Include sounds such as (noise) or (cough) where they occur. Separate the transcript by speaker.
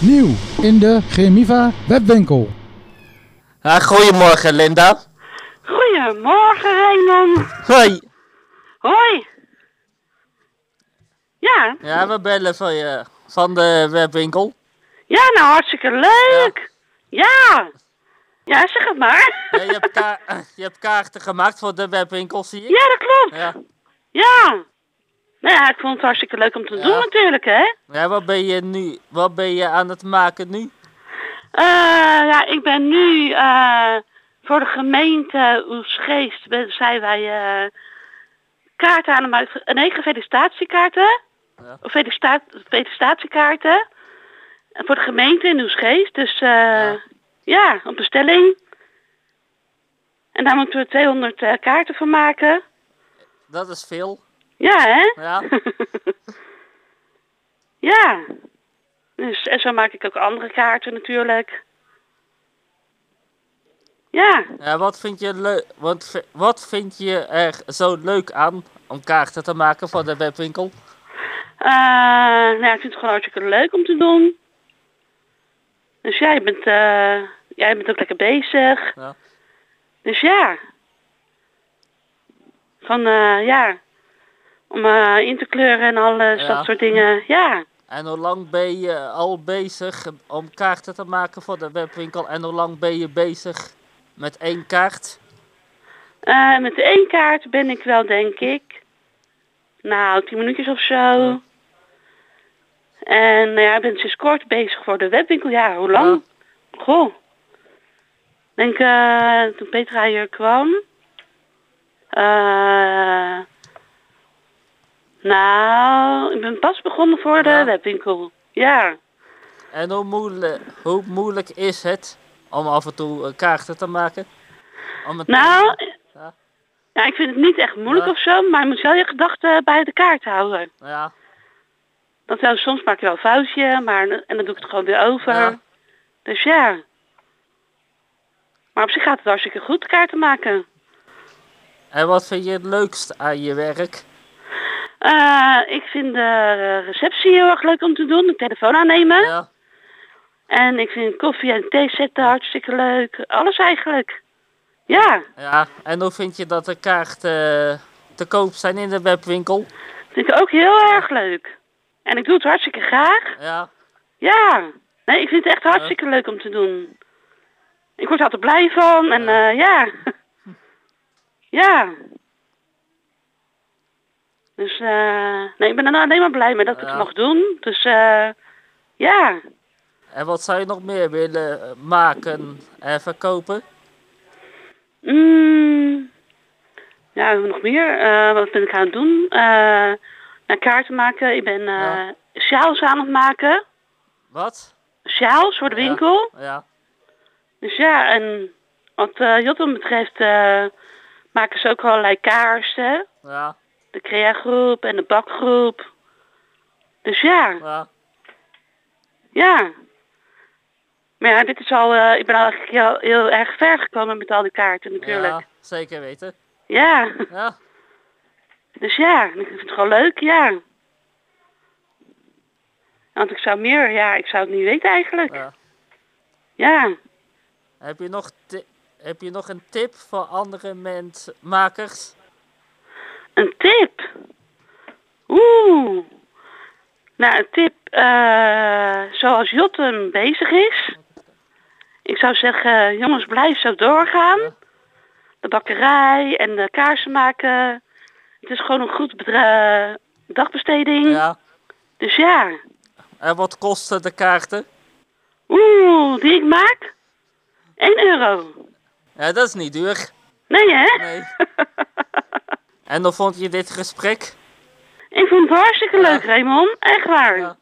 Speaker 1: Nieuw in de Gemiva webwinkel.
Speaker 2: Ah, goedemorgen, Linda.
Speaker 3: Goedemorgen, Raymond.
Speaker 2: Hoi.
Speaker 3: Hoi. Ja,
Speaker 2: Ja, we bellen van, je, van de webwinkel.
Speaker 3: ja, nou hartstikke leuk. Ja. Ja, zeg het maar.
Speaker 2: Ja, je, hebt ka- je hebt kaarten gemaakt voor de webwinkel, zie ik.
Speaker 3: (laughs) Ja, dat klopt.
Speaker 2: Ja.
Speaker 3: Ja. Nou ja, ik vond het hartstikke leuk om te doen natuurlijk, hè.
Speaker 2: Ja, wat ben je nu? Wat ben je aan het maken nu?
Speaker 3: Eh, ja, ik ben nu eh, voor de gemeente Oesgeest ben- zijn wij eh, kaarten aan het maken. Nee, felicitatiekaarten.
Speaker 2: Ja.
Speaker 3: Of felicita- felicitatiekaarten. En Voor de gemeente in Oesgeest. Dus eh,
Speaker 2: Ja.
Speaker 3: ja. een bestelling. En daar moeten we 200 eh, kaarten van maken.
Speaker 2: Dat is veel.
Speaker 3: Ja, hè?
Speaker 2: Ja. (laughs)
Speaker 3: ja. Dus, en zo maak ik ook andere kaarten natuurlijk. Ja.
Speaker 2: ja wat, vind je leu- wat, v- wat vind je er zo leuk aan om kaarten te maken voor de webwinkel?
Speaker 3: Eh, nou, ja, ik vind het gewoon hartstikke leuk om te doen. Dus jij bent, eh, jij bent ook lekker bezig.
Speaker 2: Ja.
Speaker 3: Dus ja. Van, eh, ja. Om eh, in te kleuren en alles,
Speaker 2: Ja.
Speaker 3: dat soort dingen. Ja.
Speaker 2: En hoe lang ben je al bezig om kaarten te maken voor de webwinkel? En hoe lang ben je bezig met één kaart?
Speaker 3: Eh, met één kaart ben ik wel, denk ik. Nou, tien minuutjes of zo. En nou ja, ik ben sinds kort bezig voor de webwinkel. Ja, hoe lang? Goh. Ik denk eh, toen Petra hier kwam. Eh, nou, ik ben pas begonnen voor de
Speaker 2: Ja.
Speaker 3: webwinkel. Ja.
Speaker 2: En hoe, moeilijk, hoe moeilijk is het om af en toe eh, kaarten te maken? Om het-
Speaker 3: Nou,
Speaker 2: Ja.
Speaker 3: ja, ik vind het niet echt moeilijk
Speaker 2: Ja.
Speaker 3: of zo, maar je moet wel je gedachten bij de kaart houden.
Speaker 2: Nou Ja,
Speaker 3: Dat wel, soms maak je wel een foutje, maar en dan doe ik het gewoon weer over.
Speaker 2: Ja.
Speaker 3: Dus ja. Maar op zich gaat het hartstikke goed kaarten maken.
Speaker 2: en wat vind je het leukst aan je werk?
Speaker 3: Eh, ik vind de receptie heel erg leuk om te doen, de telefoon aannemen.
Speaker 2: Ja,
Speaker 3: En ik vind koffie en thee zetten hartstikke leuk. Alles eigenlijk. Ja,
Speaker 2: ja. En hoe vind je dat de kaarten eh, te koop zijn in de webwinkel?
Speaker 3: vind ik ook heel erg leuk. En ik doe het hartstikke graag.
Speaker 2: Ja,
Speaker 3: Ja. Nee, ik vind het echt hartstikke leuk om te doen. Ik word er altijd blij van en eh,
Speaker 2: (laughs)
Speaker 3: ja. Ja. Dus eh, nee, ik ben er alleen maar blij mee dat ik
Speaker 2: Ja.
Speaker 3: het mag doen. Dus eh, ja.
Speaker 2: en wat zou je nog meer willen eh, maken en verkopen?
Speaker 3: Mm. Ja, nog meer. Eh, wat ben ik aan het doen? Eh nou, kaarten maken. Ik ben eh
Speaker 2: Ja.
Speaker 3: sjaals aan het maken.
Speaker 2: Wat?
Speaker 3: Sjaals voor de
Speaker 2: Ja.
Speaker 3: winkel.
Speaker 2: Ja,
Speaker 3: Dus ja, en wat eh Jotten betreft eh, maken ze ook allerlei kaarsen.
Speaker 2: ja,
Speaker 3: De crea-groep en de bakgroep. Dus ja,
Speaker 2: ja.
Speaker 3: ja. Maar ja, dit is al, eh, ik ben al eigenlijk heel, heel erg ver gekomen met al die kaarten natuurlijk.
Speaker 2: Ja, zeker weten.
Speaker 3: Ja,
Speaker 2: Ja,
Speaker 3: dus ja, ik vind het gewoon leuk, ja. Want ik zou meer, ja, ik zou het niet weten eigenlijk.
Speaker 2: ja.
Speaker 3: Ja.
Speaker 2: Heb je nog, ti- heb je nog een tip voor andere mensmakers?
Speaker 3: Een tip? Oeh. Nou, een tip. eh, zoals Jotten bezig is. Ik zou zeggen, jongens, blijf zo doorgaan. De bakkerij en de kaarsen maken. Het is gewoon een goed bedra- dagbesteding.
Speaker 2: Ja.
Speaker 3: Dus ja.
Speaker 2: En wat kosten de kaarten?
Speaker 3: Oeh, die ik maak? 1 euro.
Speaker 2: Ja, dat is niet duur.
Speaker 3: Nee, hè?
Speaker 2: Nee. en hoe vond je dit gesprek?
Speaker 3: Ik vond het hartstikke
Speaker 2: Ja.
Speaker 3: leuk, Raymond. Echt waar.
Speaker 2: Ja.